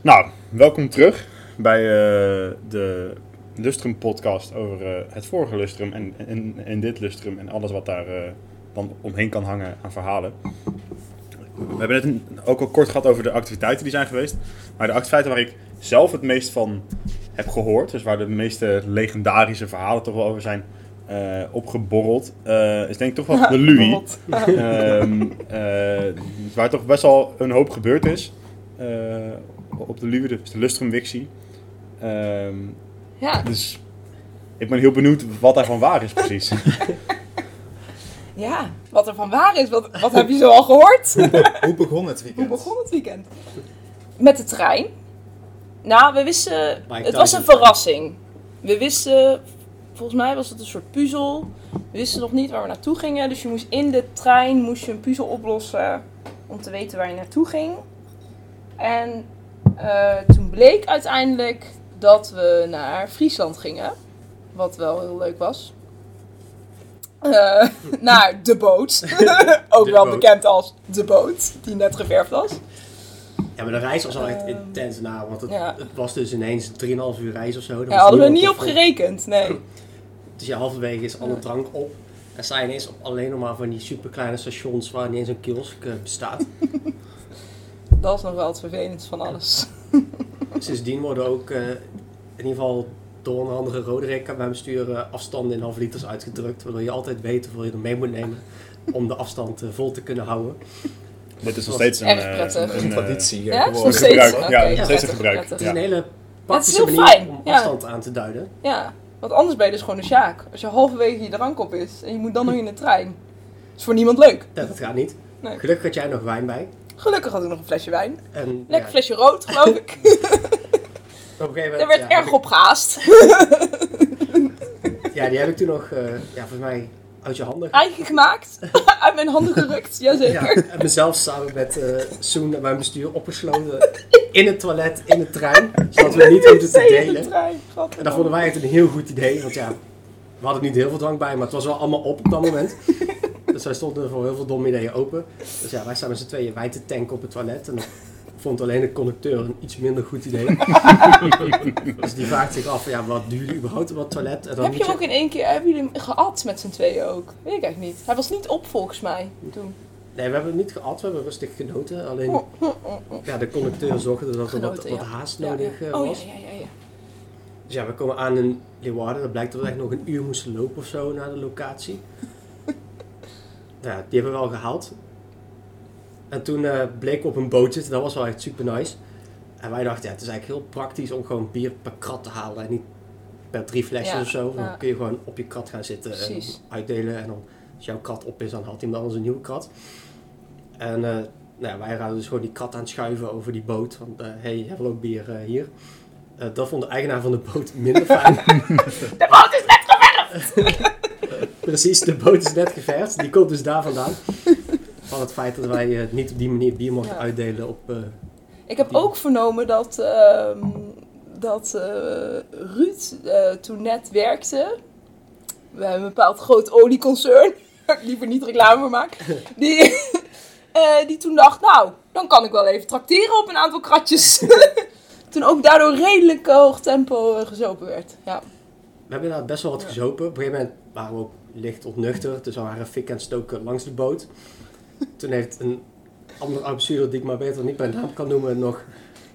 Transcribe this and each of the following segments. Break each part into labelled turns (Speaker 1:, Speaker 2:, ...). Speaker 1: Nou, welkom terug bij eh, de Lustrum podcast over eh, het vorige Lustrum en, en, en dit Lustrum en alles wat daar eh, dan omheen kan hangen aan verhalen. We hebben het een- ook al kort gehad over de activiteiten die zijn geweest. Maar de activiteiten waar ik zelf het meest van heb gehoord, dus waar de meeste legendarische verhalen toch wel over zijn eh, opgeborreld, eh, is denk ik toch wel de Louis. Ehm, eh, waar toch best wel een hoop gebeurd is. eh, op de Luwe, dus de Lustrumwixie. Ehm,
Speaker 2: Ja,
Speaker 1: dus ik ben heel benieuwd wat daarvan waar is precies.
Speaker 2: ja, wat er van waar is, wat, wat heb je zo al gehoord?
Speaker 3: Hoe begon het
Speaker 2: Hoe
Speaker 3: weekend?
Speaker 2: begon het weekend? Met de trein. Nou, we wisten,
Speaker 4: Mike
Speaker 2: het was
Speaker 4: Tyson.
Speaker 2: een verrassing. We wisten, volgens mij was het een soort puzzel. We wisten nog niet waar we naartoe gingen, dus je moest in de trein moest je een puzzel oplossen om te weten waar je naartoe ging. En eh, toen bleek uiteindelijk dat we naar Friesland gingen, wat wel heel leuk was. Eh, naar de boot, ook
Speaker 4: De
Speaker 2: wel
Speaker 4: boot.
Speaker 2: bekend als de boot, die net geverfd was.
Speaker 4: Ja, maar de reis was al echt
Speaker 2: Ehm,
Speaker 4: intens na, want het,
Speaker 2: ja.
Speaker 4: het was dus ineens 3,5 uur reis of zo. Daar
Speaker 2: Ja,
Speaker 4: was
Speaker 2: hadden we niet op
Speaker 4: niemand
Speaker 2: gerekend, nee.
Speaker 4: Dus ja, halverwege is alle drank op. En sta je ineens op alleen nog maar van die superkleine stations waar niet eens een kiosk eh, bestaat.
Speaker 2: Dat is nog wel het vervelendste van alles.
Speaker 4: Sindsdien worden ook eh, in ieder geval door onder andere Roderick bij mijn sturen afstanden in half liters uitgedrukt. Waardoor je altijd weet hoeveel je er mee moet nemen om de afstand eh, vol te kunnen houden.
Speaker 1: Dit is nog steeds een,
Speaker 2: Erg
Speaker 1: eh,
Speaker 2: prettig.
Speaker 1: een,
Speaker 3: Een
Speaker 1: eh,
Speaker 3: traditie.
Speaker 2: Ja,
Speaker 3: geworden.
Speaker 2: nog steeds.
Speaker 1: gebruik.
Speaker 2: Oké,
Speaker 1: Ja, nog steeds een
Speaker 2: prettig,
Speaker 1: gebruik.
Speaker 2: prettig.
Speaker 4: Het is
Speaker 1: Ja.
Speaker 4: een hele
Speaker 2: Het is
Speaker 4: praktische
Speaker 2: heel
Speaker 4: manier
Speaker 2: fijn,
Speaker 4: om
Speaker 2: ja.
Speaker 4: afstand aan te duiden.
Speaker 2: Ja, want anders ben je dus gewoon een sjaak. Als je halverwege je drank op is en je moet dan nog in de trein. is voor niemand leuk.
Speaker 4: Ja, dat gaat niet.
Speaker 2: Nee.
Speaker 4: Gelukkig had jij nog wijn bij.
Speaker 2: Gelukkig had ik nog een flesje wijn.
Speaker 4: En,
Speaker 2: Lekker
Speaker 4: ja,
Speaker 2: flesje rood, geloof ik.
Speaker 4: op een gegeven
Speaker 2: Daar
Speaker 4: moment,
Speaker 2: werd
Speaker 4: ja,
Speaker 2: erg op gehaast.
Speaker 4: Ja, die heb ik toen nog, eh, ja, volgens mij uit je handen
Speaker 2: Eigen gemaakt. Uit mijn handen gerukt, jazeker.
Speaker 4: Ja, en mezelf samen met eh Soen en mijn bestuur opgesloten in het toilet, in de trein. Zodat we niet hoefden te
Speaker 2: Zee in de
Speaker 4: delen.
Speaker 2: trein.
Speaker 4: En dat vonden wij echt een heel goed idee. Want ja, we hadden niet heel veel drank bij, maar het was wel allemaal op op dat moment. Dus wij stonden voor heel veel domme ideeën open. Dus ja, wij staan met z'n tweeën wij te tanken op het toilet. En dat vond alleen de conducteur een iets minder goed idee. dus die vraagt zich af, ja, wat doen jullie überhaupt op dat toilet? En dan
Speaker 2: Heb
Speaker 4: moet
Speaker 2: je hem ook in één keer, hebben jullie hem geat met z'n tweeën ook? Weet ik eigenlijk niet. Hij was niet op volgens mij toen.
Speaker 4: Nee, we hebben niet geat, we hebben rustig genoten. Alleen ja, de conducteur zorgde dat er wat,
Speaker 2: Genoten,
Speaker 4: wat
Speaker 2: ja.
Speaker 4: haast
Speaker 2: Ja,
Speaker 4: nodig
Speaker 2: ja.
Speaker 4: eh,
Speaker 2: Oh
Speaker 4: was.
Speaker 2: ja, ja, ja. ja.
Speaker 4: Dus ja, we komen aan in Leeuwarden. Dat blijkt dat we echt nog een uur moesten lopen of zo naar de locatie. ja, die hebben we wel gehaald. En toen eh, bleek op een boot zitten. Dat was wel echt super nice. En wij dachten, ja, het is eigenlijk heel praktisch om gewoon bier per krat te halen. En niet per drie flesjes
Speaker 2: Ja,
Speaker 4: of zo. Dan
Speaker 2: ja.
Speaker 4: kun je gewoon op je krat gaan zitten en
Speaker 2: Precies.
Speaker 4: uitdelen. En dan, als jouw krat op is, dan haalt iemand anders een nieuwe krat. En eh, nou ja, wij raden dus gewoon die krat aan het schuiven over die boot. Want hé, hey, hebben we ook bier eh, hier? Eh, dat vond de eigenaar van de boot minder fijn.
Speaker 2: De boot is net
Speaker 4: Precies, de boot is net geverfd. Die komt dus daar vandaan. Van het feit dat wij eh, niet op die manier bier mochten
Speaker 2: Ja.
Speaker 4: uitdelen op... eh,
Speaker 2: Ik heb
Speaker 4: Die-
Speaker 2: ook vernomen dat, ehm, dat eh, Ruud eh, toen net werkte bij een bepaald groot olieconcern, waar ik liever niet reclame voor maak, die, eh, die toen dacht, nou, dan kan ik wel even trakteren op een aantal kratjes. toen ook daardoor redelijk hoog tempo eh, gezopen werd. Ja,
Speaker 4: We hebben daar best wel wat gezopen. Op een gegeven moment waren we ook licht ontnuchter. Dus we waren fik en stoken langs de boot. Toen heeft een andere absurder, die ik maar beter niet bij naam kan noemen, nog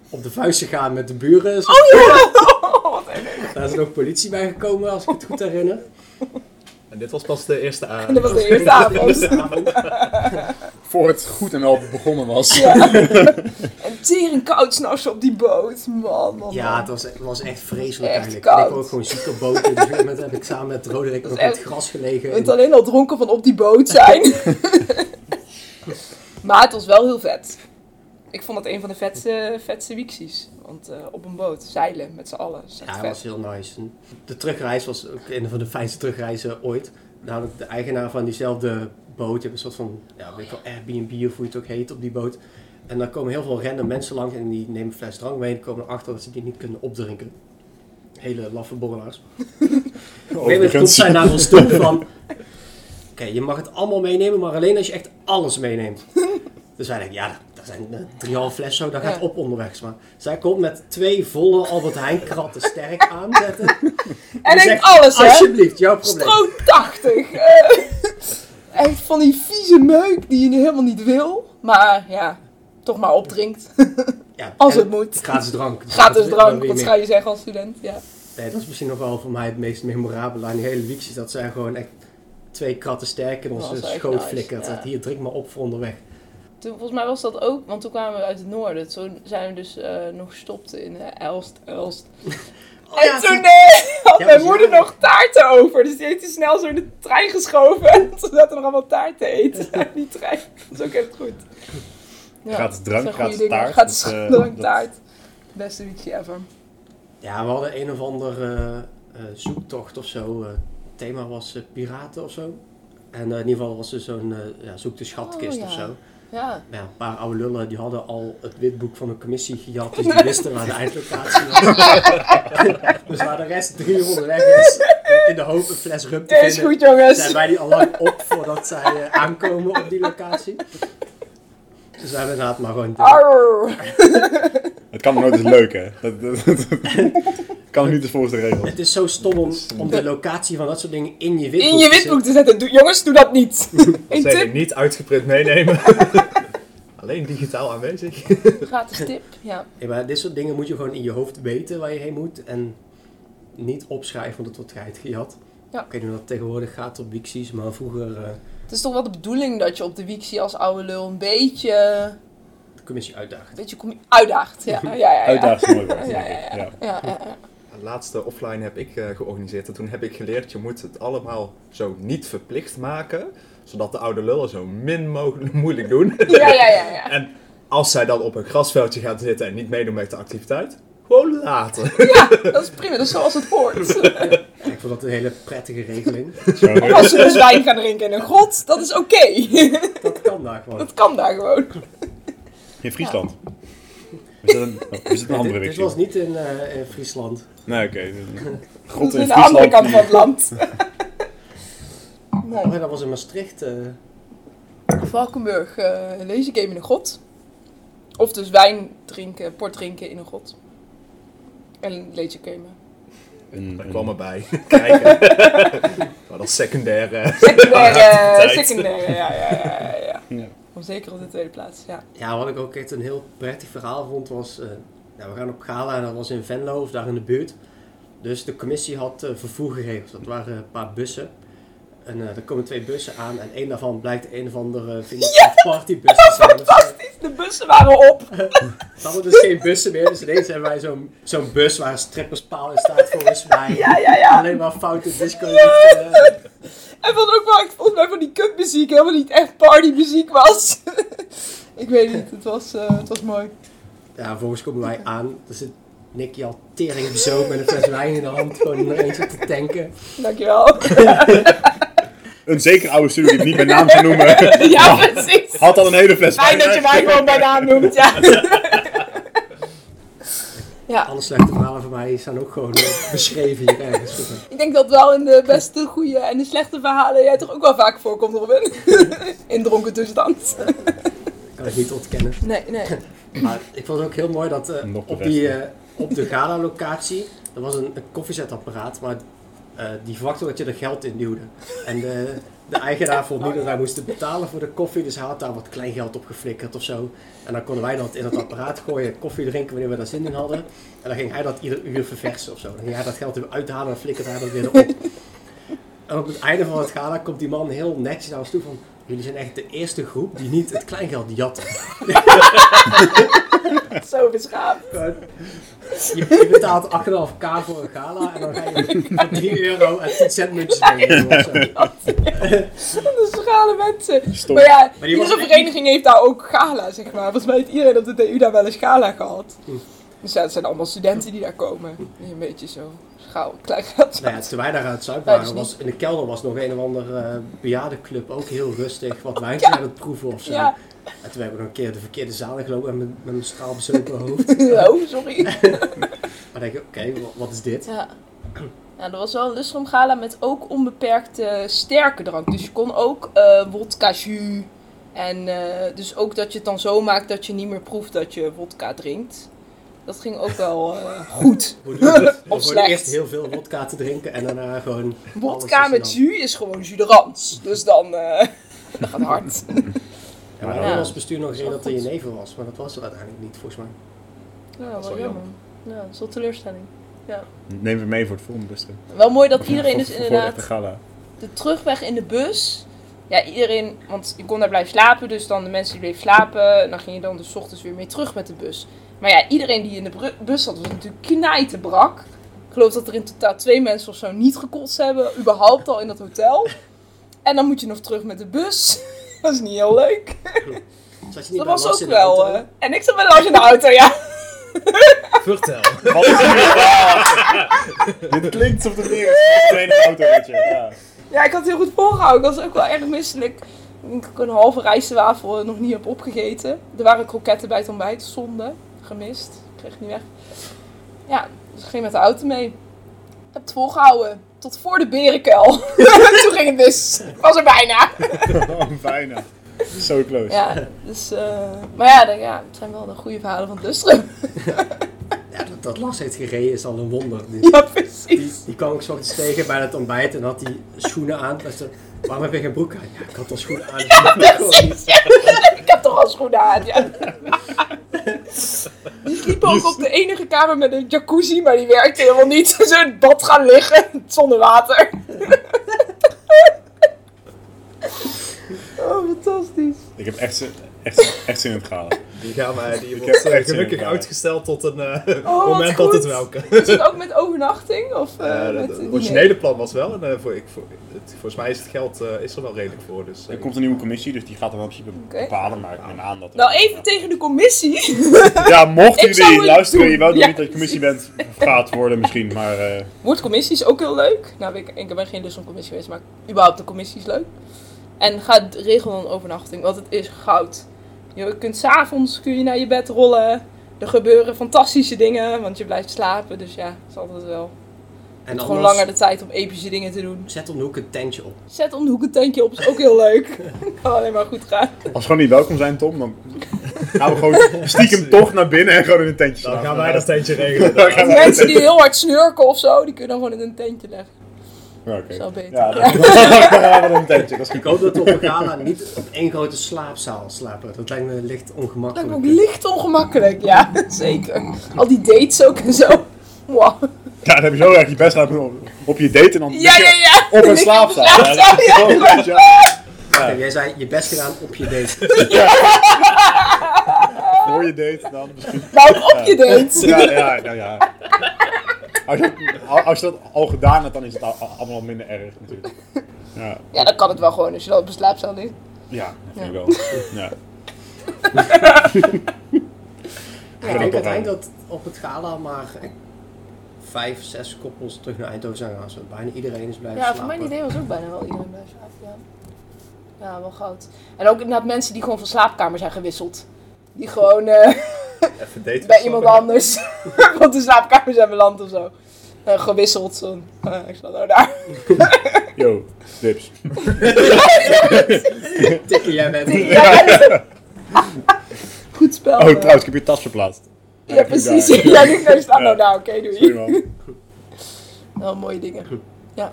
Speaker 4: op de vuist gegaan met de
Speaker 2: Oh,
Speaker 4: buren. Daar is er ook politie bij gekomen, als ik het goed herinner.
Speaker 3: En dit was pas de eerste
Speaker 2: en dat
Speaker 3: avond.
Speaker 2: was de eerste avond.
Speaker 1: Voor het goed en wel begonnen was.
Speaker 2: Ja. En tering koud s'nachts op die boot. Man, man,
Speaker 4: Ja,
Speaker 2: man.
Speaker 4: het was, het was echt vreselijk
Speaker 2: Echt
Speaker 4: eigenlijk. En
Speaker 2: koud.
Speaker 4: ik was ook gewoon ziek op boot. Dus op een gegeven moment heb ik samen met Roderick nog
Speaker 2: is
Speaker 4: op het
Speaker 2: echt-
Speaker 4: gras
Speaker 2: Je
Speaker 4: gelegen.
Speaker 2: bent alleen al dronken van op die boot zijn. maar het was wel heel vet. Ik vond het een van de vetste, vetste weeksies. Want eh, op een boot, zeilen met z'n allen. is echt
Speaker 4: Ja, dat
Speaker 2: vet.
Speaker 4: was heel nice. En De terugreis was ook een van de fijnste terugreizen ooit. Namelijk de eigenaar van diezelfde boot. Je hebt een soort van, ja, weet ik wel, Airbnb of hoe het ook heet op die boot. En dan komen heel veel random mensen langs en die nemen een fles drank mee en komen erachter dat ze die niet kunnen opdrinken. Hele laffe borrelaars. Op een gegeven moment komt zij naar ons toe van... Oké, je mag het allemaal meenemen, maar alleen als je echt alles meeneemt. Dus wij denken, ja, dat, dat dat zijn eh, drieënhalf fles zo, dat gaat
Speaker 2: Ja.
Speaker 4: op onderweg. Maar zij komt met twee volle Albert Heijn kratten sterk aanzetten.
Speaker 2: En
Speaker 4: zegt,
Speaker 2: heeft alles, hè?
Speaker 4: Alsjeblieft, jouw probleem.
Speaker 2: Stro 80. eh. Echt van die vieze meuk die je helemaal niet wil. Maar ja, toch maar opdrinkt.
Speaker 4: Ja,
Speaker 2: Als
Speaker 4: en
Speaker 2: het moet.
Speaker 4: Gratis drank. Dus
Speaker 2: Gratis
Speaker 4: dat- dat
Speaker 2: drank,
Speaker 4: wil je
Speaker 2: wat
Speaker 4: meer.
Speaker 2: ga je zeggen als student? Ja.
Speaker 4: Nee, dat is misschien nog wel voor mij het meest memorabele aan die hele week. Is dat zij gewoon echt twee kratten sterk in
Speaker 2: Dat
Speaker 4: onze
Speaker 2: was echt
Speaker 4: schoot
Speaker 2: nice,
Speaker 4: flikkert.
Speaker 2: ja.
Speaker 4: Dat Hier, drink maar op voor onderweg.
Speaker 2: Toen, volgens mij was dat ook, want toen kwamen we uit het noorden. Toen zijn we dus eh, nog gestopt in eh, Elst, Elst.
Speaker 4: Oh
Speaker 2: en
Speaker 4: ja,
Speaker 2: toen
Speaker 4: toen-
Speaker 2: eh, had
Speaker 4: Ja,
Speaker 2: mijn
Speaker 4: was
Speaker 2: moeder
Speaker 4: jij-
Speaker 2: nog taarten over. Dus die heeft hij snel zo in de trein geschoven. En toen zaten we nog allemaal taart te eten uit die trein. Dat is ook echt goed. Ja,
Speaker 1: Gratis
Speaker 2: dat
Speaker 1: drank,
Speaker 2: zijn goede
Speaker 1: gratis
Speaker 2: dingen.
Speaker 1: taart.
Speaker 2: Gratis
Speaker 1: Dus, eh,
Speaker 2: drank,
Speaker 1: dat-
Speaker 2: taart. Beste weekje ever.
Speaker 4: Ja, we hadden een of andere eh, eh, zoektocht of zo. eh, het thema was eh, piraten of zo. En eh, in ieder geval was er zo'n eh, ja, zoek de schatkist
Speaker 2: Oh, ja.
Speaker 4: of zo.
Speaker 2: Ja.
Speaker 4: Maar ja, een paar oude lullen die hadden al het witboek van de commissie gejat. Dus die wisten waar de eindlocatie was. dus waar de rest 300 weg is. In de hoop een fles rum te
Speaker 2: Is
Speaker 4: vinden.
Speaker 2: goed jongens.
Speaker 4: zijn wij die al lang op voordat zij eh, aankomen op die locatie. Dus we hebben inderdaad maar gewoon...
Speaker 2: Arr.
Speaker 1: Het kan me nooit eens leuk, hè? Dat, dat- dat- kan niet eens volgens de regels.
Speaker 4: Het is zo stom om, om de locatie van dat soort dingen in je witboek
Speaker 2: In je
Speaker 4: te
Speaker 2: witboek te zetten. Doe- jongens, doe dat niet. Een
Speaker 3: Zeker
Speaker 2: tip.
Speaker 3: niet uitgeprint meenemen. Alleen digitaal aanwezig.
Speaker 2: Gratis tip. Ja.
Speaker 4: zetten. Ja, maar dit soort dingen moet je gewoon in je hoofd weten waar je heen moet. En niet opschrijven, want het wordt geit gejat.
Speaker 2: Ja.
Speaker 4: Ik weet niet hoe dat tegenwoordig gaat op Wixies, maar vroeger... eh,
Speaker 2: Het is toch wel de bedoeling dat je op de weekzie als oude lul een beetje...
Speaker 4: de commissie uitdagen.
Speaker 2: Een beetje commu- uitdaagt. Ja, ja, ja. ja.
Speaker 1: Uitdagend mooi woord.
Speaker 2: Ja,
Speaker 1: denk ik. Ja.
Speaker 2: Ja, ja, ja.
Speaker 3: Het laatste offline heb ik eh, georganiseerd en toen heb ik geleerd, je moet het allemaal zo niet verplicht maken, zodat de oude lullen zo min mogelijk moeilijk doen.
Speaker 2: Ja, ja, ja, ja.
Speaker 3: En als zij dan op een grasveldje gaat zitten en niet meedoen met de activiteit, gewoon laten.
Speaker 2: Dat is prima, dat is zoals het hoort.
Speaker 4: Ja, ik vond dat een hele prettige regeling.
Speaker 1: Zo'n
Speaker 2: Of als ze dus wijn gaan drinken in een grot, dat is oké.
Speaker 4: dat kan daar gewoon.
Speaker 2: Dat kan daar gewoon.
Speaker 1: In Friesland. Is dat een, oh, is dat een andere
Speaker 4: dit, dit
Speaker 1: richting?
Speaker 4: was niet in, eh, in Friesland.
Speaker 1: Nee, oké. God
Speaker 2: Dat is
Speaker 1: in
Speaker 2: aan de andere
Speaker 1: Friesland.
Speaker 2: kant van het land. Nou,
Speaker 4: Oh, ja, dat was in Maastricht. eh,
Speaker 2: Valkenburg, eh lezen game in een grot. Of dus wijn drinken, port drinken in een grot. En lezen game.
Speaker 1: Een,
Speaker 3: Daar
Speaker 1: een-
Speaker 3: kwam erbij. Kijken. maar dat is secundair. eh.
Speaker 2: Secundaire,
Speaker 3: Activiteit.
Speaker 2: secundaire, ja, ja, ja, ja, ja.
Speaker 1: Ja.
Speaker 2: Om Zeker op de tweede plaats, ja.
Speaker 4: Ja, wat ik ook echt een heel prettig verhaal vond was... eh, nou, we gaan op gala en dat was in Venlo of daar in de buurt. Dus de commissie had eh, vervoer geregeld. Dat waren een paar bussen. En eh, er komen twee bussen aan en één daarvan blijkt een of andere eh, ja! partybus te zijn. of zo.
Speaker 2: Fantastisch, de bussen waren op.
Speaker 4: Ze hadden dus geen bussen meer, dus ineens hebben wij zo'n zo'n bus waar een stripperspaal in staat volgens mij.
Speaker 2: Ja, ja, ja.
Speaker 4: Alleen maar foute disco. liedjes, eh.
Speaker 2: En wat ook wel, echt volgens mij van die kutmuziek helemaal niet echt partymuziek was. ik weet niet, het was, eh, het was mooi.
Speaker 4: Ja, vervolgens komen wij aan. Er zit Nicky al tering zo met een fles wijn in de hand. Gewoon er eentje te tanken.
Speaker 2: Dankjewel.
Speaker 1: Een zeker oude studie die ik niet bij naam zou noemen,
Speaker 2: ja, precies.
Speaker 1: had al een hele fles
Speaker 2: Fijn dat je mij gewoon bij naam noemt, ja. ja,
Speaker 4: Alle slechte verhalen van mij staan ook gewoon eh, beschreven hier ergens.
Speaker 2: ik denk dat wel in de beste, goede en de slechte verhalen jij toch ook wel vaak voorkomt, Robin. in dronken tussenstand.
Speaker 4: Kan ik niet ontkennen.
Speaker 2: Nee, nee.
Speaker 4: Maar ik vond het ook heel mooi dat eh,
Speaker 1: Nog de
Speaker 4: op, die,
Speaker 1: beste.
Speaker 4: eh, op de gala-locatie, er was een, een koffiezetapparaat, maar eh, die verwachtte dat je er geld in duwde. En de, de eigenaar vond niet dat wij moesten betalen voor de koffie, dus hij had daar wat kleingeld op geflikkerd of zo. En dan konden wij dat in het apparaat gooien, koffie drinken wanneer we daar zin in hadden. En dan ging hij dat ieder uur verversen of zo. Dan ging hij dat geld weer uithalen en flikkerde hij dat weer op. En op het einde van het gala komt die man heel netjes naar ons toe van... Jullie zijn echt de eerste groep die niet het kleingeld jatten.
Speaker 2: Zo beschaamd.
Speaker 4: Gewoon, Je, je betaalt 8,5k voor een gala en dan ga je voor 3 euro en 10 cent muntjes meenemen. of zo.
Speaker 2: De schrale mensen.
Speaker 1: Stom.
Speaker 2: Maar ja,
Speaker 4: was
Speaker 2: iedere
Speaker 4: echt-
Speaker 2: vereniging heeft daar ook gala, zeg maar. Volgens mij heeft iedereen op de DU daar wel eens gala gehad.
Speaker 4: Hm.
Speaker 2: Dus ja, het zijn allemaal studenten die daar komen. Die een beetje zo schaal, klein geld.
Speaker 4: Nou Hm. ja, toen wij daar aan het zuipen
Speaker 2: Ja, dat is
Speaker 4: waren, was, in de kelder was nog een of andere eh bejaardenclub ook heel rustig. Wat wijntje aan het proeven of zo.
Speaker 2: Ja,
Speaker 4: En toen hebben we nog een keer de verkeerde zaal gelopen en met, met mijn straalbezopen hoofd.
Speaker 2: oh, sorry.
Speaker 4: Maar denk ik, oké, wa- wat is dit?
Speaker 2: Ja. Nou, er was wel een lustrum gala met ook onbeperkte sterke drank. Dus je kon ook eh wodka jus, En eh, dus ook dat je het dan zo maakt dat je niet meer proeft dat je wodka drinkt. Dat ging ook wel eh, goed.
Speaker 4: Hoe doe je dat?
Speaker 2: Of
Speaker 4: Gewoon eerst
Speaker 2: slecht.
Speaker 4: heel veel wodka te drinken en daarna gewoon...
Speaker 2: Wodka
Speaker 4: alles
Speaker 2: met
Speaker 4: is er
Speaker 2: jus is gewoon juderans. Dus dan eh, dat gaat hard.
Speaker 4: dan. Ja, maar
Speaker 2: Ja.
Speaker 4: dan was het bestuur nog reden dat het
Speaker 2: goed.
Speaker 4: je neven was, maar dat was er uiteindelijk niet volgens mij.
Speaker 2: Ja,
Speaker 3: Dat is
Speaker 2: wel
Speaker 3: wel
Speaker 2: jammer. Ja, dat is wel teleurstelling.
Speaker 1: Neem het mee voor het volgende lustrum.
Speaker 2: Wel mooi dat iedereen
Speaker 1: Voor-
Speaker 2: dus
Speaker 1: voor
Speaker 2: inderdaad
Speaker 1: de echte gala.
Speaker 2: de terugweg in de bus. Ja, iedereen, want je kon daar blijven slapen, dus dan de mensen die bleven slapen, en dan ging je dan dus 's ochtends weer mee terug met de bus. Maar ja, iedereen die in de bru- bus zat was natuurlijk knijten brak. Ik geloof dat er in totaal twee mensen of zo niet gekotst hebben, überhaupt al in dat hotel. En dan moet je nog terug met de bus. Dat is niet heel leuk.
Speaker 4: Zat je niet
Speaker 2: Dat
Speaker 4: bij
Speaker 2: was
Speaker 4: Lars
Speaker 2: ook
Speaker 4: in de auto?
Speaker 2: wel. eh, en ik zat met Lars in de auto, ja.
Speaker 3: Vertel.
Speaker 1: Wat is dit? Dit klinkt alsof het meer is een tweede autootje. Ja.
Speaker 2: Ja, ik had het heel goed volgehouden. Ik was ook wel erg misselijk. Ik denk dat ik een halve rijstwafel nog niet heb opgegeten. Er waren kroketten bij het ontbijt. Zonde. Gemist. Ik kreeg het niet weg. Ja, dus ik ging met de auto mee. Ik heb het volgehouden. Tot voor de berenkuil. Toen ging het mis. Ik was er bijna.
Speaker 1: Oh, bijna. So close.
Speaker 2: Ja, dus... eh, maar ja, dan- ja, het zijn wel de goede verhalen van Dustrum.
Speaker 4: Ja, dat, dat Lars heeft gereden is al een wonder. Die,
Speaker 2: ja,
Speaker 4: die,
Speaker 2: precies.
Speaker 4: die kwam ik 's ochtends tegen bij het ontbijt en had die schoenen aan. Toen zei ze, waarom heb je geen broek aan? Ja, ik had al schoenen aan.
Speaker 2: Precies, ja. Ik heb toch al schoenen aan, ja. Die sliepen ook op de enige kamer met een jacuzzi, maar die werkte helemaal niet. Ze zijn in het bad gaan liggen, zonder water. Oh, fantastisch.
Speaker 1: Ik heb echt zin, echt, echt zin in het gala.
Speaker 3: Die gaan wij, die
Speaker 1: Ik
Speaker 3: wordt
Speaker 1: heb
Speaker 3: eh,
Speaker 1: echt zin
Speaker 3: gelukkig
Speaker 1: in, ja.
Speaker 3: uitgesteld tot een eh,
Speaker 2: Oh, wat
Speaker 3: moment dat
Speaker 2: goed. Eh,
Speaker 3: het wel kan.
Speaker 2: Is dat ook met overnachting? Of, eh,
Speaker 3: Eh,
Speaker 2: met
Speaker 3: het
Speaker 2: diner?
Speaker 3: originele plan was wel, en eh, voor, ik, voor, het, volgens mij is het geld eh, is er wel redelijk voor. Dus, eh,
Speaker 1: Er komt een nieuwe commissie, dus die gaat dan wel in principe
Speaker 2: Oké.
Speaker 1: bepalen, maar ik neem aan dat...
Speaker 2: Nou, even tegen de commissie.
Speaker 1: Ja, mocht
Speaker 2: Ik zou
Speaker 1: jullie
Speaker 2: het
Speaker 1: luisteren,
Speaker 2: doen.
Speaker 1: je wel
Speaker 2: Ja,
Speaker 1: niet dat je commissie bent, gaat worden misschien, maar... eh,
Speaker 2: Wordt commissies ook heel leuk? Nou, ik, ik ben geen lust om commissie geweest, maar überhaupt de commissie is leuk. En ga regel een overnachting, want het is goud. Je kunt s'avonds kun je naar je bed rollen. Er gebeuren fantastische dingen, want je blijft slapen. Dus ja, het is altijd wel.
Speaker 4: En
Speaker 2: Gewoon
Speaker 4: anders-
Speaker 2: langer de tijd om epische dingen te doen.
Speaker 4: Zet om de hoek een tentje op.
Speaker 2: Zet om de hoek een tentje op, is ook heel leuk. kan alleen maar goed gaan.
Speaker 1: Als we gewoon niet welkom zijn, Tom, dan gaan we gewoon stiekem toch naar binnen en gewoon in een tentje
Speaker 3: dan
Speaker 1: slapen.
Speaker 3: gaan wij dat steentje regelen.
Speaker 1: Dan gaan
Speaker 2: Die
Speaker 1: wij-
Speaker 2: mensen die heel hard snurken of zo, die kunnen gewoon in een tentje leggen.
Speaker 1: Ja,
Speaker 2: Dat
Speaker 1: oké.
Speaker 2: is wel beter.
Speaker 1: Ja, dan dan gaan we in een tentje, dat is
Speaker 4: Ik
Speaker 1: goed.
Speaker 4: hoop dat we op een gala niet op één grote slaapzaal slapen. Dat lijkt me licht
Speaker 2: Dat lijkt
Speaker 4: ongemakkelijk.
Speaker 2: me ook licht ongemakkelijk, ja, zeker. Al die dates ook en zo. Wow.
Speaker 1: Ja, dan heb je zo erg je best aan doen op- op je date en dan
Speaker 2: Ja, ja, ja.
Speaker 1: op een
Speaker 2: Lig je op de
Speaker 1: slaapzaal. Ja, dat is gewoon goed, ja.
Speaker 4: Kijk, Jij zei je best gedaan op je date.
Speaker 1: Voor je date dan misschien.
Speaker 2: Nou, op je date.
Speaker 1: Ja, ja, ja. ja. Als, je, als je dat al gedaan hebt, dan is het al- al- allemaal minder erg natuurlijk. Ja,
Speaker 2: Ja, dan kan het wel gewoon als je dat op een slaapzaal ligt.
Speaker 1: ja dat vind ik
Speaker 2: Ja.
Speaker 1: wel. Ja.
Speaker 4: ik denk uiteindelijk dat op het gala maar vijf, zes koppels terug naar Eindhoven zijn gegaan. zodat Bijna iedereen is blijven slapen.
Speaker 2: was ook bijna wel iedereen bij slapen, ja. Ja, wel goud. En ook inderdaad mensen die gewoon van slaapkamer zijn gewisseld. Die gewoon eh,
Speaker 3: Even daten.
Speaker 2: bij iemand anders van de slaapkamer zijn beland of zo. Eh, gewisseld. Zo. eh, ik zat nou daar.
Speaker 1: Yo, dips.
Speaker 4: Tikkie jij bent.
Speaker 2: Goed spel.
Speaker 1: Oh,
Speaker 2: eh.
Speaker 1: trouwens, ik heb je tas verplaatst.
Speaker 2: Ja, precies. Ja, ik denk, sta nou
Speaker 1: Ja.
Speaker 2: daar. Oké,
Speaker 1: Sorry
Speaker 2: doei.
Speaker 1: man.
Speaker 2: Wel mooie dingen. Ja.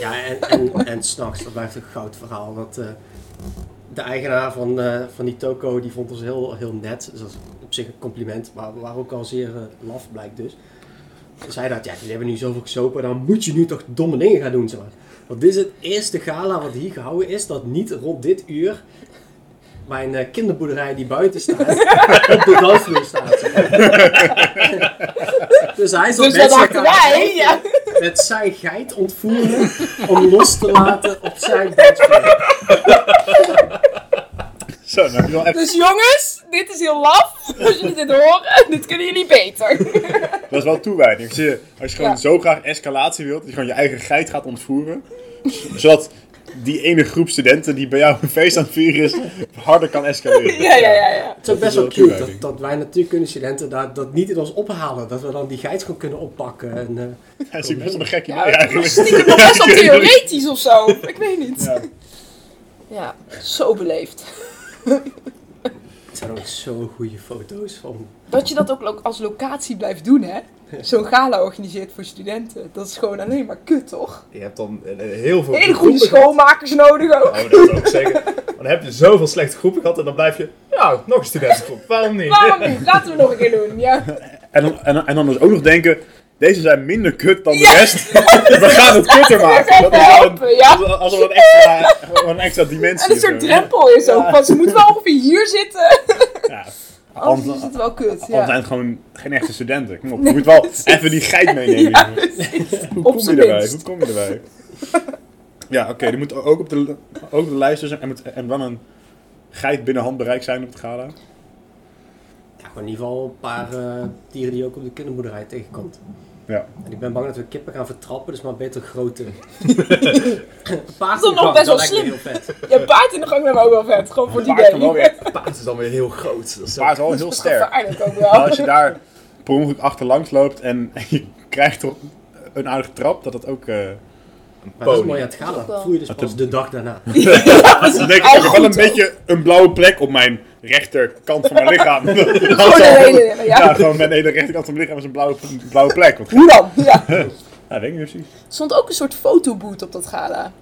Speaker 4: Ja, en, en, en s'nachts, dat blijft een goud verhaal. Dat, eh, de eigenaar van, eh, van die toko die vond ons heel, heel net. Dus dat is op zich een compliment, maar we waren ook al zeer eh, laf, blijkt dus. Ze zei dat, ja, jullie hebben nu zoveel gesopen, dan moet je nu toch domme dingen gaan doen, zeg maar. Want dit is het eerste gala wat hier gehouden is, dat niet rond dit uur mijn eh, kinderboerderij die buiten staat, op de dansvloer staat. zeg maar. dus hij zat
Speaker 2: Dus
Speaker 4: met
Speaker 2: dat
Speaker 4: zijn
Speaker 2: dachten wij. Ja.
Speaker 4: met zijn geit ontvoeren om los te laten op zijn bedje.
Speaker 1: Zo, nou heb je wel echt...
Speaker 2: Dus jongens, dit is heel laf. Als jullie dit horen, dit kunnen jullie beter.
Speaker 1: Dat is wel toewijding. Als je, als je gewoon
Speaker 2: Ja.
Speaker 1: zo graag escalatie wilt, dat je gewoon je eigen geit gaat ontvoeren. z- Zodat die ene groep studenten die bij jou een feest aan het vieren is, harder kan escaleren.
Speaker 2: Ja, ja, ja. ja.
Speaker 4: Het is ook best wel
Speaker 1: wel
Speaker 4: cute dat,
Speaker 1: toewijding.
Speaker 4: dat wij natuurkundestudenten daar, dat niet in ons ophalen. Dat we dan die geit gewoon kunnen oppakken. En, eh,
Speaker 1: Dat is hier best wel een gekje mee
Speaker 2: Ja, dat was
Speaker 1: eigenlijk.
Speaker 2: stiekem nog best wel theoretisch of zo. Ik weet niet.
Speaker 1: Ja.
Speaker 2: Ja, Ja, zo beleefd.
Speaker 4: Het zijn ook zo goede foto's van.
Speaker 2: Dat je dat ook lo- als locatie blijft doen, hè? Zo'n gala organiseert voor studenten. Dat is gewoon alleen maar kut, toch?
Speaker 3: Je hebt dan eh, heel veel...
Speaker 2: Hele goede
Speaker 3: groepen gehad.
Speaker 2: schoonmakers nodig ook.
Speaker 3: Nou, dat zou ik zeggen. Dan heb je zoveel slechte groepen gehad en dan blijf je... Ja, nog een studentengroep. Waarom niet?
Speaker 2: Waarom niet? Laten we nog een keer doen. Ja.
Speaker 1: En dan, en, dan- en dan dus ook nog denken, deze zijn minder kut dan de rest. We gaan het kutter maken. Dat is wel een,
Speaker 2: Helpen, ja.
Speaker 1: dat is alsof een extra, gewoon een extra dimensie.
Speaker 2: En een
Speaker 1: of
Speaker 2: soort
Speaker 1: zo.
Speaker 2: drempel is ook. Want ze moeten wel ongeveer hier zitten.
Speaker 1: Ja.
Speaker 2: Anders
Speaker 1: Anders-
Speaker 2: is het wel kut.
Speaker 1: Al zijn
Speaker 2: Oh, Ja.
Speaker 1: het gewoon geen echte studenten. Kom op, je moet wel even die geit meenemen.
Speaker 2: Ja,
Speaker 1: jongen.
Speaker 2: precies.
Speaker 1: Hoe
Speaker 2: op
Speaker 1: kom je
Speaker 2: z'n
Speaker 1: erbij?
Speaker 2: minst.
Speaker 1: Hoe kom je erbij? Ja, oké, die moet ook op de, ook op de lijst zijn. En moet en dan een geit binnen handbereik zijn op het gala.
Speaker 4: Ja, gewoon in ieder geval een paar eh, dieren die je ook op de kinderboerderij tegenkomt.
Speaker 1: Ja.
Speaker 4: En ik ben bang dat we kippen gaan vertrappen, dus maar beter grote.
Speaker 2: Dat is nog best wel slim. Ja, paard in de gang dan ook wel vet. Gewoon voor die
Speaker 1: Paard kan wel
Speaker 2: idee.
Speaker 1: weer.
Speaker 3: Paard is dan weer heel groot. Dat is
Speaker 1: Paard is wel heel sterk.
Speaker 2: Eigenlijk ook
Speaker 1: Maar
Speaker 2: wel.
Speaker 1: als je daar per ongeluk achterlangs loopt en, en je krijgt toch een aardige trap, dat dat ook... eh
Speaker 4: Maar dat is
Speaker 3: Pony.
Speaker 4: mooi aan het
Speaker 2: Dat is ook
Speaker 4: gala.
Speaker 2: wel-
Speaker 4: Voel je dus
Speaker 1: Dat
Speaker 4: pas
Speaker 1: de-
Speaker 4: de dag daarna.
Speaker 1: dan denk ik,
Speaker 2: Al
Speaker 1: ik heb wel een
Speaker 2: goed,
Speaker 1: beetje een blauwe plek op mijn rechterkant van mijn lichaam.
Speaker 2: Gewoon de
Speaker 1: ja,
Speaker 2: hele. Ja.
Speaker 1: gewoon mijn hele rechterkant van mijn lichaam is een blauwe, blauwe plek. Want,
Speaker 2: Hoe dan? Ja.
Speaker 1: ja, weet ik niet precies.
Speaker 2: Er stond ook een soort fotoboot op dat gala.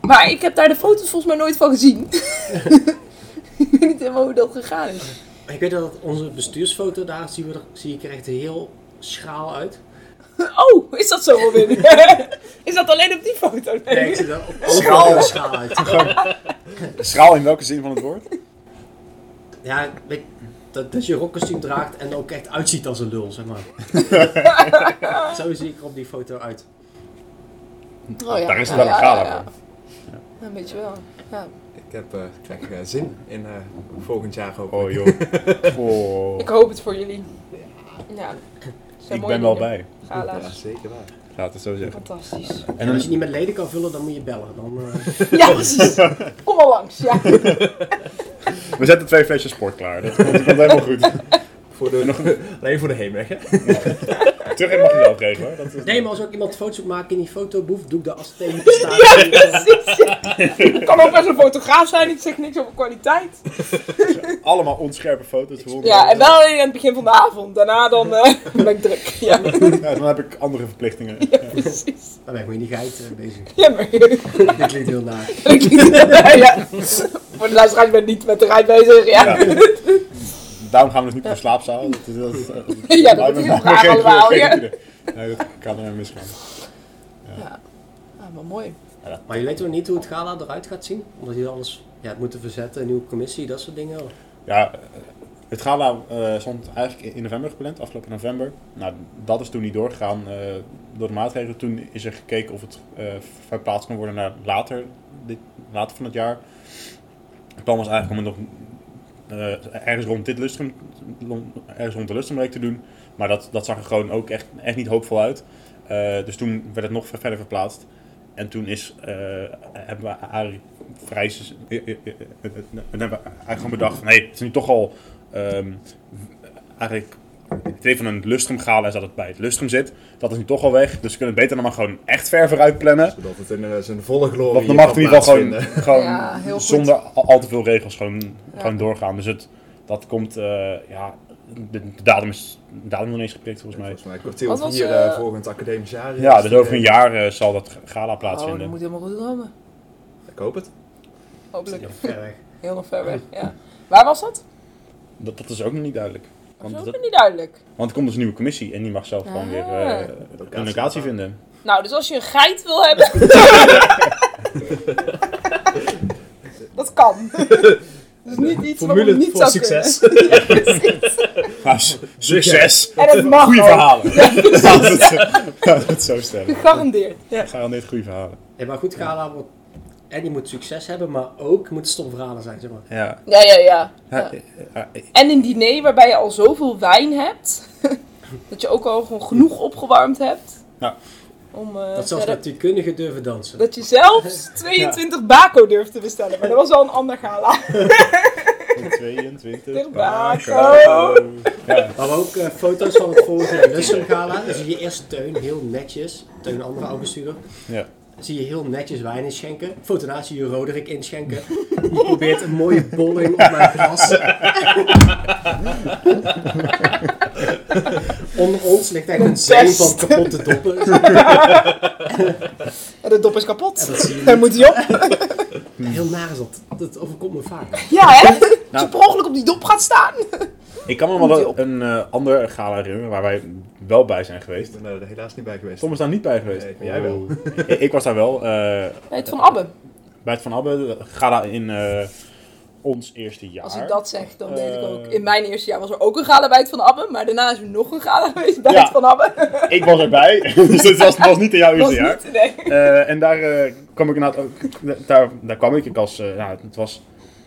Speaker 2: Maar ik heb daar de foto's volgens mij nooit van gezien. ik weet niet helemaal hoe dat gegaan is.
Speaker 4: Ik weet dat onze bestuursfoto daar, zien we er, zie ik er echt heel schaal uit.
Speaker 2: Oh, is dat zo, Robin? is dat alleen op die foto? Nee.
Speaker 4: Nee, ik zie er op alle foto's heel schaal uit.
Speaker 1: Schraal in welke zin van het woord?
Speaker 4: Ja, weet, dat, dat je een rockkostuum draagt en er ook echt uitziet als een lul, zeg maar. Zo zie ik er op die foto uit.
Speaker 2: Oh ja,
Speaker 1: Daar is
Speaker 2: ja,
Speaker 1: het wel
Speaker 2: ja,
Speaker 1: een gala
Speaker 2: ja, ja.
Speaker 1: voor.
Speaker 2: Ja, Een beetje wel. Ja.
Speaker 3: Ik heb eh, ik krijg eh, zin in eh, volgend jaar ook.
Speaker 1: Oh joh. Oh,
Speaker 2: Ik hoop het voor jullie. Ja. Het zijn
Speaker 1: ik
Speaker 2: mooie
Speaker 1: ben wel
Speaker 2: dingen.
Speaker 1: bij.
Speaker 3: Ja,
Speaker 2: Gala's.
Speaker 3: zeker waar.
Speaker 1: Laat het zo zeggen.
Speaker 2: Fantastisch.
Speaker 1: En
Speaker 4: En als je
Speaker 1: dan,
Speaker 4: niet met leden kan vullen, dan moet je bellen. Dan, eh,
Speaker 2: Ja, precies. Kom al langs. Ja.
Speaker 1: we zetten twee flesjes sport klaar. Dat komt, dat komt helemaal goed.
Speaker 3: Voor de, alleen voor de heenweg, hè?
Speaker 1: Terug en mag je zelf regelen hoor. Dat is-
Speaker 4: Nee, maar als ook iemand foto's wil maken in die fotoboef, doe ik dat als tegen staan.
Speaker 2: Ik kan ook best een fotograaf zijn. Ik zeg niks over kwaliteit.
Speaker 1: Allemaal onscherpe foto's. Rond.
Speaker 2: Ja, en wel in het begin van de avond. Daarna dan eh, ben ik druk. Ja,
Speaker 1: Ja, dan heb ik andere verplichtingen.
Speaker 2: ja precies.
Speaker 4: Dan ben ik met die geit eh, bezig.
Speaker 2: Ja, maar...
Speaker 4: Dit klinkt heel naar.
Speaker 2: ja. Voor de luisteraar, ik ben niet met de rij bezig. Ja,
Speaker 1: Ja. Daarom gaan we dus niet voor slaapzaal. Dat is, dat is, dat is-
Speaker 2: Ja, dat is heel
Speaker 1: lijkt me
Speaker 2: raar
Speaker 1: geen-
Speaker 2: allemaal,
Speaker 1: geen
Speaker 2: ja.
Speaker 1: idee. Nee, dat kan er misgaan.
Speaker 2: ah, maar mooi.
Speaker 4: Maar je weet nog niet hoe het gala eruit gaat zien? Omdat je alles ja, het moeten verzetten, een nieuwe commissie, dat soort dingen.
Speaker 1: Ja, eh, het gala eh, stond eigenlijk in- in november gepland, afgelopen november. Nou, dat is toen niet doorgegaan eh, door de maatregelen. Toen is er gekeken of het eh, verplaatst kan worden naar later, dit, later van het jaar. Het plan was eigenlijk om het nog eh, ergens rond dit lustrum, ergens rond de lustrumweek te doen. Maar dat, dat zag er gewoon ook echt, echt niet hoopvol uit. Eh, dus toen werd het nog verder verplaatst. En toen is, eh, hebben we eigenlijk vrij... s- eh, eh, eh, eh, eh, hebben we eigenlijk gewoon bedacht van... Hey, het is nu toch al... ehm, eigenlijk... Het idee van een lustrum gala is dat het bij het lustrum zit. Dat is nu toch al weg. Dus we kunnen het beter dan maar gewoon echt ver vooruit plannen.
Speaker 3: Zodat het in eh, zijn volle glorie
Speaker 1: Want dan
Speaker 3: hier
Speaker 1: mag het in
Speaker 3: kan
Speaker 1: ieder geval gewoon,
Speaker 3: plaatsvinden.
Speaker 1: gewoon
Speaker 2: Ja, heel goed.
Speaker 1: zonder al, al te veel regels gewoon, gewoon
Speaker 2: Ja.
Speaker 1: doorgaan. Dus het, dat komt, eh, ja, de, de datum is de datum is nog niet eens geprikt volgens mij.
Speaker 3: Volgens mij kwartier
Speaker 2: Wat
Speaker 3: of
Speaker 2: was,
Speaker 3: hier
Speaker 2: eh,
Speaker 3: eh, volgend academisch jaar. eh,
Speaker 1: Ja,
Speaker 3: is
Speaker 1: dus
Speaker 3: die,
Speaker 1: over een
Speaker 3: eh,
Speaker 1: jaar eh, zal dat gala
Speaker 2: Oh, dat
Speaker 1: plaatsvinden.
Speaker 2: moet helemaal goed komen.
Speaker 3: Ik hoop het.
Speaker 2: Hopelijk.
Speaker 4: Ver weg.
Speaker 2: Heel nog ver weg, ja. Waar was dat?
Speaker 1: Dat, dat is ook nog niet duidelijk. Want,
Speaker 2: Dat is
Speaker 1: dat-
Speaker 2: ook niet duidelijk.
Speaker 1: want er komt dus een nieuwe commissie en die mag zelf gewoon
Speaker 2: Ah.
Speaker 1: weer eh, een locatie vinden.
Speaker 2: Nou, dus als je een geit wil hebben... dat kan. Dat is niet iets wat
Speaker 3: Formule
Speaker 2: niet
Speaker 3: voor
Speaker 2: zou
Speaker 3: succes.
Speaker 2: kunnen. Ja, precies.
Speaker 1: Maar s- succes!
Speaker 2: En het mag
Speaker 1: Goeie
Speaker 2: ook.
Speaker 1: verhalen! Laten we het zo- laten we het zo stellen.
Speaker 2: Gegarandeerd. Ja.
Speaker 1: Gegarandeerd goede verhalen.
Speaker 4: Ja, maar goed, gala wordt... En je moet succes hebben, maar ook moet stom verhalen zijn, zeg maar.
Speaker 1: Ja.
Speaker 2: Ja, ja, ja.
Speaker 1: Ja,
Speaker 2: ja.
Speaker 1: eh, eh,
Speaker 2: En een diner waarbij je al zoveel wijn hebt. dat je ook al gewoon genoeg opgewarmd hebt.
Speaker 1: Ja.
Speaker 2: Om, eh,
Speaker 4: Dat zelfs
Speaker 2: ja, dat-
Speaker 4: natuurkundigen durven dansen.
Speaker 2: dat je zelfs 22 bako durft te bestellen. Maar dat was wel een ander gala.
Speaker 1: 22
Speaker 2: Bako.
Speaker 1: Ja,
Speaker 4: Maar we ook eh, foto's van het vorige Russum gala. Dus je eerst Teun, heel netjes. Teun, een andere oud bestuurder.
Speaker 1: ja.
Speaker 4: zie je heel netjes wijn inschenken. Foto daarna zie je Roderick inschenken. Die probeert een mooie bolling op mijn glas. Onder ons ligt echt een zee van kapotte doppen.
Speaker 5: En de dop is
Speaker 4: En
Speaker 5: kapot.
Speaker 4: dat zie je
Speaker 5: En
Speaker 4: niet.
Speaker 5: moet hij op?
Speaker 4: Heel naar is dat. Dat overkomt me vaak.
Speaker 5: Ja, hè? Als je per ongeluk op die dop gaat staan.
Speaker 1: Ik kan me wel een eh, ander gala herinneren waar wij wel bij zijn geweest.
Speaker 3: Ik ben eh, er helaas niet bij geweest.
Speaker 1: Tom is daar niet bij geweest.
Speaker 3: Nee, maar jij wel.
Speaker 1: ik, ik was daar wel. eh,
Speaker 2: Nee, het van Abbe.
Speaker 1: bij het Van Abbe, gala in eh, ons eerste jaar.
Speaker 2: Als ik dat zeg, dan weet ik
Speaker 1: Eh.
Speaker 2: ook. In mijn eerste jaar was er ook een gala bij het Van Abbe, maar daarna is er nog een gala geweest bij
Speaker 1: Ja.
Speaker 2: het Van Abbe.
Speaker 1: Ik was erbij, dus het was, was niet in jouw
Speaker 2: Dat
Speaker 1: eerste
Speaker 2: was
Speaker 1: jaar.
Speaker 2: niet, nee.
Speaker 1: Eh, en daar eh, kwam ik inderdaad ook. Daar, daar kwam ik ik als. eh, nou, het was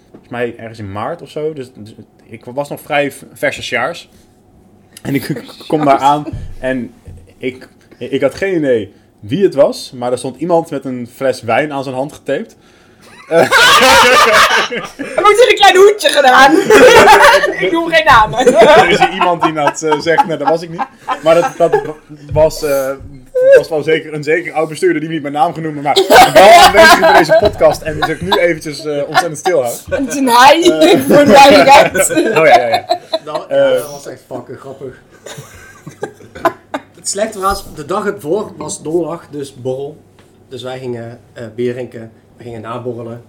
Speaker 1: volgens mij ergens in maart of zo. Dus, dus ik was nog vrij versjaars. En ik kom daar aan en ik, ik had geen idee wie het was. Maar er stond iemand met een fles wijn aan zijn hand getaped.
Speaker 2: Hij wordt in een klein hoedje gedaan. ik noem geen namen.
Speaker 1: Er is hier iemand die dat eh, zegt, nou dat was ik niet. Maar dat, dat was, eh, was wel zeker een zeker oud bestuurder die me niet mijn naam genoemd heeft, maar wel aanwezig bij deze podcast en die zich nu eventjes eh, ontzettend stilhoudt.
Speaker 2: Het is een hij, voor de duidelijkheid.
Speaker 1: Oh ja, ja, ja.
Speaker 4: Dat, ja, dat Eh, was echt fucking grappig. Het slechte was, de dag ervoor was donderdag, dus borrel. Dus wij gingen eh bier drinken, we gingen naborrelen.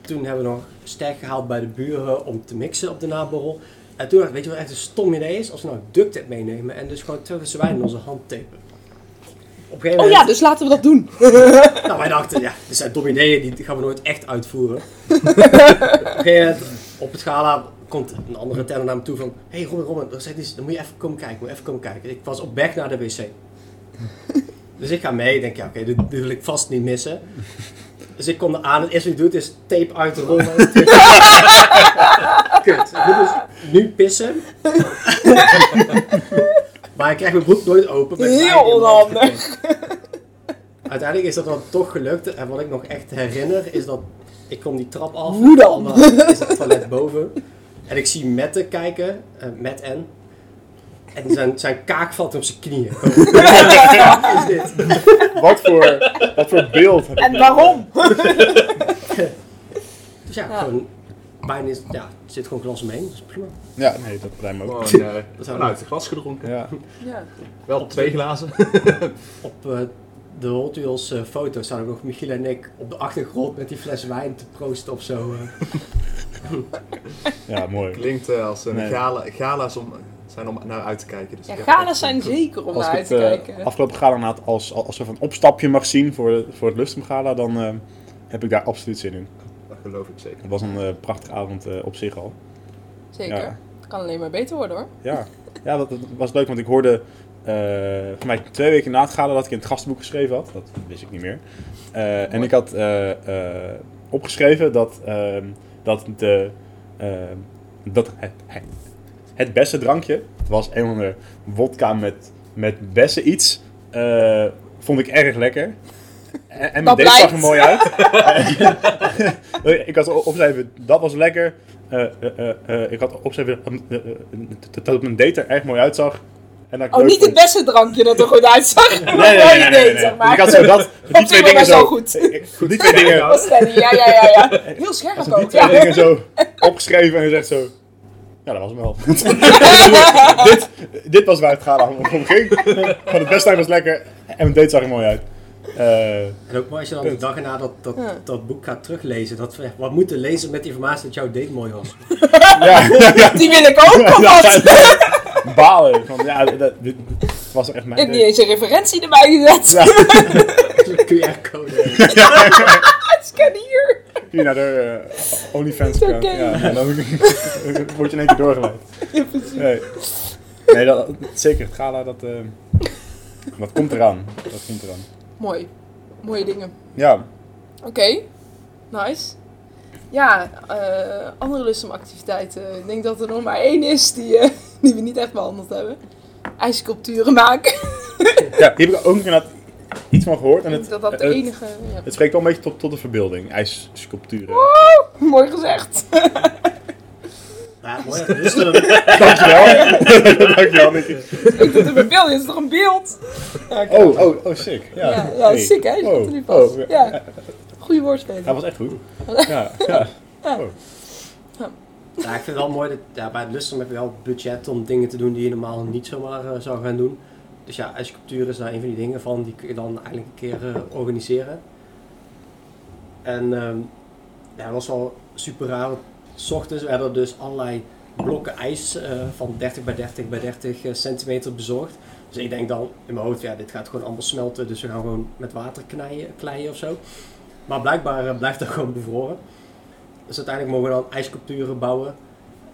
Speaker 4: Toen hebben we nog sterk gehaald bij de buren om te mixen op de naborrel. En toen dacht ik, weet je wat echt een stom idee is? Als we nou duct tape meenemen en dus gewoon telkens wijn in onze hand tapen. Op een gegeven
Speaker 2: Oh
Speaker 4: moment-
Speaker 2: ja, dus laten we dat doen.
Speaker 4: nou, wij dachten, ja, dit zijn domme ideeën, die gaan we nooit echt uitvoeren. op, een gegeven moment, op het gala komt een andere tenor naar me toe van... Hé, hey, Robin, Robin, er zit iets, dan moet je even komen kijken, moet je even komen kijken. Ik was op weg naar de wc. dus ik ga mee, ik denk, ja, oké, dit, dit wil ik vast niet missen. Dus ik kom eraan, het eerste wat ik doe, is tape uit de rollen. Kut, ik moet dus nu pissen. maar ik krijg mijn broek nooit open. met wijn in
Speaker 2: Heel
Speaker 4: mijn hand
Speaker 2: onhandig.
Speaker 4: Uiteindelijk is dat dan toch gelukt. En wat ik nog echt herinner is dat ik kom die trap af.
Speaker 2: Hoe dan?
Speaker 4: En dan is het toilet boven. En ik zie Mette kijken. eh, Matt en. En zijn, zijn kaak valt op zijn knieën. Wat is dit?
Speaker 1: Wat voor, wat voor beeld heb ik
Speaker 2: En waarom?
Speaker 4: Dus ja,
Speaker 2: Ja.
Speaker 4: gewoon... Bijna is... Ja, er zit gewoon glas omheen. Dat is prima.
Speaker 1: Ja, nee, dat lijkt me ook.
Speaker 3: Gewoon eh,
Speaker 4: Dat
Speaker 3: gewoon
Speaker 4: we-
Speaker 3: uit het glas gedronken.
Speaker 1: Ja.
Speaker 2: Ja.
Speaker 3: Wel twee glazen.
Speaker 4: Op eh, de Hot Wheels eh, foto staan ook nog Michiel en ik op de achtergrond met die fles wijn te proosten of zo. eh.
Speaker 1: ja, mooi.
Speaker 3: Klinkt eh, als een
Speaker 1: Nee.
Speaker 3: gala. Gala's om, zijn om naar uit te kijken. Dus
Speaker 2: Ja,
Speaker 3: ik heb
Speaker 2: gala's
Speaker 3: echt-
Speaker 2: zijn zeker om
Speaker 1: Als
Speaker 2: naar
Speaker 1: ik
Speaker 2: uit
Speaker 1: het
Speaker 2: te kijken.
Speaker 1: eh, afgelopen gala inderdaad als, als een opstapje mag zien voor, de- voor het Lustrum Gala, dan eh, heb ik daar absoluut zin in.
Speaker 3: Dat geloof ik zeker.
Speaker 1: Het was een eh, prachtige avond eh, op zich al.
Speaker 2: zeker.
Speaker 1: ja.
Speaker 2: Het kan alleen maar beter worden hoor.
Speaker 1: Ja, ja dat, dat was leuk, want ik hoorde eh voor mij twee weken na het gala dat ik in het gastenboek geschreven had. Dat wist ik niet meer. Eh, en ik had eh, eh, opgeschreven dat, ehm, dat, de, ehm, dat het, het- het beste drankje, het was een of andere wodka met, met bessen iets, eh, vond ik erg lekker. En, en
Speaker 2: Dat
Speaker 1: deze zag er
Speaker 2: blijkt.
Speaker 1: mooi uit. ik had opgeschreven, dat was lekker. Eh, eh, eh, eh, ik had opgeschreven eh, eh, eh, dat het mijn date er erg mooi uitzag. En dat ik
Speaker 2: Oh,
Speaker 1: leuk
Speaker 2: niet het
Speaker 1: vond.
Speaker 2: beste drankje dat er goed uitzag. Nee,
Speaker 1: Nee, nee, nee, nee, nee, nee.
Speaker 2: Zeg
Speaker 1: Dus
Speaker 2: maar.
Speaker 1: ik had zo dat, die
Speaker 2: ging
Speaker 1: twee
Speaker 2: wel
Speaker 1: dingen
Speaker 2: zo
Speaker 1: zo,
Speaker 2: goed.
Speaker 1: ik- ik- die twee dingen,
Speaker 2: Dat was Danny, ja, ja, ja, ja. Heel scherp
Speaker 1: die
Speaker 2: ook.
Speaker 1: twee
Speaker 2: Ja.
Speaker 1: eh, dingen zo opgeschreven en zegt zo, ja, dat was hem wel. dit, dit was waar het gala om om ging. Van het best was lekker en mijn date zag er mooi uit. Eh,
Speaker 4: En ook mooi als je dan de dag erna dat, dat, dat boek gaat teruglezen. Dat, we- wat moet de lezer met informatie dat jouw date mooi was?
Speaker 1: ja,
Speaker 2: Die wil ik ook, of
Speaker 1: Ja,
Speaker 2: wat?
Speaker 1: balen. Van, ja, dat, dit, dit was echt mijn
Speaker 2: Ik heb
Speaker 1: date.
Speaker 2: niet eens een referentie erbij gezet.
Speaker 1: Ja.
Speaker 4: QR-code.
Speaker 2: Scan hier.
Speaker 1: Hier naar de eh, OnlyFans account.
Speaker 2: Oké.
Speaker 1: Ja, en dan word je in één keer doorgeleid.
Speaker 2: Ja, precies.
Speaker 1: Nee, nee dat, zeker. Het gala, dat, eh, dat komt eraan. Dat komt eraan.
Speaker 2: Mooi. Mooie dingen.
Speaker 1: Ja,
Speaker 2: Oké. Nice. Ja, eh, andere lustumactiviteiten. Ik denk dat er nog maar één is die, eh, die we niet echt behandeld hebben. IJsculpturen maken.
Speaker 1: ja, hier heb ik ook inderdaad iets van gehoord. En
Speaker 2: Ik
Speaker 1: het,
Speaker 2: denk dat dat de
Speaker 1: het,
Speaker 2: enige... ja.
Speaker 1: het spreekt wel een beetje
Speaker 2: Oh.
Speaker 1: tot, tot de verbeelding. IJssculpturen.
Speaker 2: Mooi gezegd.
Speaker 4: Ja, mooi. Dus, eh, dat is er.
Speaker 1: Dankjewel. Dankjewel, Nicky.
Speaker 2: Ik doe het in beeld, dit is toch een beeld? Ja, ik-
Speaker 1: Oh, oh, oh, sick. Ja,
Speaker 2: ja, ja
Speaker 1: Hey.
Speaker 2: sick hè, je
Speaker 1: Oh,
Speaker 2: komt er nu pas.
Speaker 1: oh, ja.
Speaker 2: ja. Goeie woordspeling.
Speaker 1: Hij was echt goed. Ja, ja.
Speaker 4: Ja, ik vind het wel mooi dat ja, bij het Lustrum heb je wel budget om dingen te doen die je normaal niet zomaar eh, zou gaan doen. Dus ja, ijsculptuur is daar een van die dingen van die kun je dan eigenlijk een keer eh, organiseren. En ehm, ja, dat was wel super raar. want 's ochtends werden er dus allerlei blokken ijs eh, van 30 bij 30 bij 30 eh, centimeter bezorgd. Dus ik denk dan in mijn hoofd, ja, dit gaat gewoon allemaal smelten, dus we gaan gewoon met water knijen, kleien of zo. Maar blijkbaar eh, blijft dat gewoon bevroren. Dus uiteindelijk mogen we dan ijsculpturen bouwen.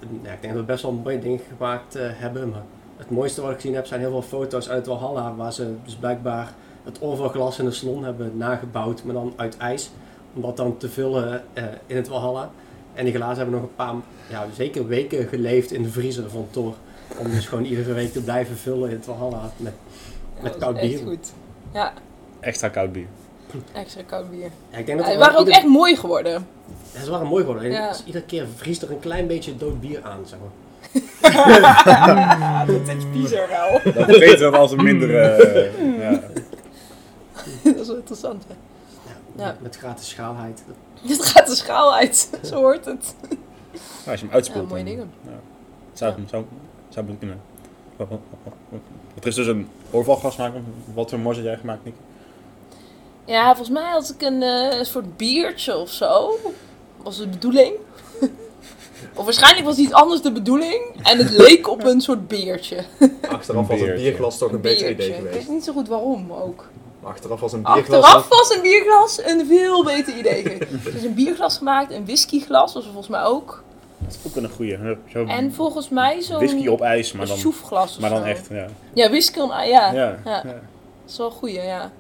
Speaker 4: En, ja, ik denk dat we best wel een mooi ding gemaakt eh, hebben. Maar het mooiste wat ik gezien heb zijn heel veel foto's uit Walhalla. Waar ze dus blijkbaar het orvalglas in de salon hebben nagebouwd. Maar dan uit ijs. Om dat dan te vullen eh, in het Walhalla. En die glazen hebben nog een paar, ja, zeker weken geleefd in de vriezer van Thor. Om dus gewoon iedere week te blijven vullen in het Walhalla. Met,
Speaker 2: Ja,
Speaker 4: met
Speaker 2: dat
Speaker 4: koud
Speaker 2: was echt
Speaker 4: bier.
Speaker 2: goed. Ja,
Speaker 1: Extra koud bier.
Speaker 2: extra koud bier.
Speaker 4: Ja, ik denk
Speaker 2: Ja,
Speaker 4: dat
Speaker 2: die
Speaker 4: er
Speaker 2: waren
Speaker 4: wel
Speaker 2: ook
Speaker 4: ieder-
Speaker 2: echt mooi geworden.
Speaker 4: Ja, ze waren mooi geworden. En
Speaker 2: Ja.
Speaker 4: dus iedere keer vriest er een klein beetje dood bier aan, zeg maar.
Speaker 1: Hmm.
Speaker 2: dat is bizar wel.
Speaker 1: Dat beter dan als een minder... eh, ja.
Speaker 2: dat is wel interessant hè. Ja.
Speaker 4: Met gratis schaalheid.
Speaker 2: Dit gaat de schaal uit, zo hoort het.
Speaker 1: Nou, als je hem uitspoelt,
Speaker 2: Ja, mooie
Speaker 1: dan-
Speaker 2: dingen.
Speaker 1: Zou, zou, zou moeten kunnen. Wat- wat- wat- wat- Er is dus een oorvalgasmaker. Wat voor moois had jij gemaakt, Nick?
Speaker 2: Ja, volgens mij had ik een eh, soort biertje of zo. Was de bedoeling. of waarschijnlijk was iets anders de bedoeling. En het leek op een soort biertje.
Speaker 3: Achteraf was
Speaker 1: Een
Speaker 3: een
Speaker 1: biertje.
Speaker 3: bierglas toch een beter idee
Speaker 2: Ik weet
Speaker 3: geweest.
Speaker 2: niet zo goed waarom ook.
Speaker 3: Maar achteraf was een bierglas...
Speaker 2: Achteraf was een bierglas een veel beter idee. geweest. dus een bierglas gemaakt, een whiskyglas was er volgens mij ook.
Speaker 1: Dat is ook een goede. Zo
Speaker 2: En volgens mij zo'n
Speaker 1: whisky op ijs, maar
Speaker 2: een
Speaker 1: dan,
Speaker 2: soefglas of
Speaker 1: maar dan
Speaker 2: zo.
Speaker 1: echt. Ja.
Speaker 2: Ja, whisky on ah,
Speaker 1: Ja.
Speaker 2: ja. ja.
Speaker 1: Ja.
Speaker 2: Dat is wel een goeie, ja.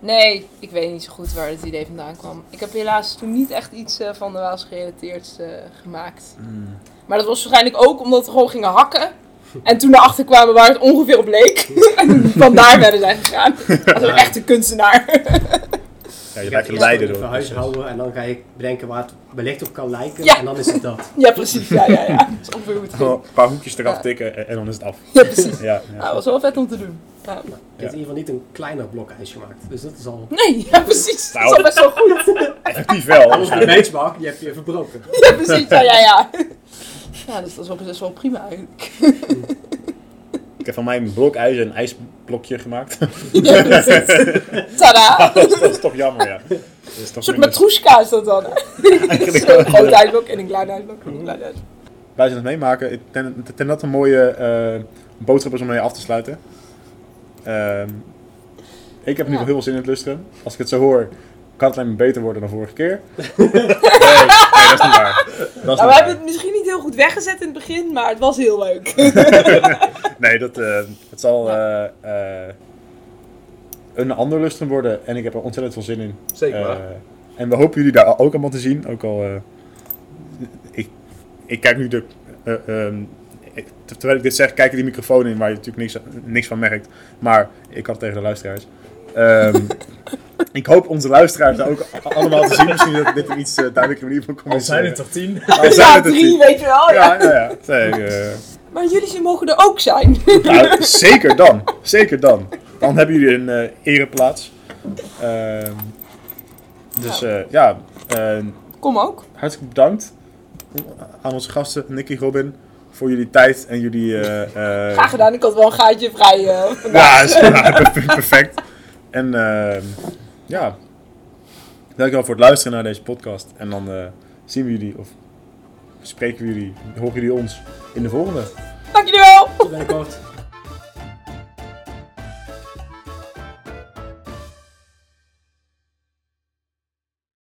Speaker 2: Nee, ik weet niet zo goed waar het idee vandaan kwam. Ik heb helaas toen niet echt iets eh, van de Waals gerelateerd gemaakt. Maar dat was waarschijnlijk ook omdat we gewoon gingen hakken. En toen erachter kwamen waar het ongeveer op leek. en vandaar werden zij gegaan. Als een echte kunstenaar.
Speaker 1: Ja, je lijkt
Speaker 4: een
Speaker 1: een leider door. Dus, het proces.
Speaker 4: huishouden en dan ga je bedenken waar het wellicht op kan lijken.
Speaker 2: Ja.
Speaker 4: En dan is het dat.
Speaker 2: ja, precies. Ja, ja, ja. Dat is ongeveer hoe het ging.
Speaker 1: eh, Gewoon Een paar hoekjes eraf
Speaker 2: Ja.
Speaker 1: tikken en, en dan is het af.
Speaker 2: Ja, precies.
Speaker 1: Ja,
Speaker 2: Nou,
Speaker 1: ja.
Speaker 2: dat was wel vet om te doen. Ja.
Speaker 4: Je hebt in ieder geval niet een kleiner blok ijs gemaakt. Dus dat is al...
Speaker 2: Nee, ja, precies. Dat is
Speaker 1: Nou.
Speaker 2: al best wel goed.
Speaker 1: Effectief wel.
Speaker 4: Alles de benchmark, die heb je verbroken.
Speaker 2: Ja, precies. Ja, ja, ja. Ja, dus dat is wel best wel prima eigenlijk.
Speaker 1: Ik heb van mij een blok ijs en een ijsblokje gemaakt.
Speaker 2: Ja, precies. Tada!
Speaker 1: dat, is, dat is toch jammer, ja. Dat is
Speaker 2: Een
Speaker 1: toch
Speaker 2: soort
Speaker 1: minder-
Speaker 2: matroeska is dat dan. hè? Zo'n groot uitblok en een klein uitblok en een klein uitblok.
Speaker 1: Wij zijn het meemaken. Ik denk ik denk dat een mooie eh, boodschap is om mee af te sluiten. Ehm, ik heb nu
Speaker 2: Ja.
Speaker 1: wel heel veel zin in het lustrum. Als ik het zo hoor, kan het alleen maar beter worden dan vorige keer. nee, nee, dat is niet waar. Dat is niet
Speaker 2: Nou, we
Speaker 1: waar.
Speaker 2: hebben het misschien niet heel goed weggezet in het begin, maar het was heel leuk.
Speaker 1: Nee, dat, eh, het zal eh, eh, een ander lustrum worden. En ik heb er ontzettend veel zin in.
Speaker 3: Zeker waar.
Speaker 1: Eh, en we hopen jullie daar ook allemaal te zien. Ook al. eh, ik, ik kijk nu de. eh, ehm, ik- terwijl ik dit zeg, kijken die microfoon in waar je natuurlijk niks, niks van merkt. Maar ik had het tegen de luisteraars. Ehm, ik hoop onze luisteraars daar ook a- allemaal te zien. Misschien dat ik dit er iets eh, duidelijker manier van kan
Speaker 3: Al zijn het
Speaker 1: het
Speaker 3: er tien.
Speaker 2: Ja, drie, weet je wel. Ja.
Speaker 1: Ja, ja, ja. Nee, eh,
Speaker 2: Maar jullie ze mogen er ook zijn.
Speaker 1: nou, zeker dan. Zeker dan. Dan hebben jullie een eh, ereplaats. Ehm, dus eh, ja, eh,
Speaker 2: Kom ook.
Speaker 1: hartelijk bedankt aan onze gasten Nicky Robin voor jullie tijd en jullie. eh, eh,
Speaker 2: Graag gedaan, ik had wel een gaatje vrij. eh.
Speaker 1: Ja, is- ja, perf- perfect. En eh, ja, dankjewel voor het luisteren naar deze podcast. En dan eh, zien we jullie, of spreken we jullie, horen jullie ons in de volgende.
Speaker 2: Dank jullie wel.
Speaker 4: Tot binnenkort.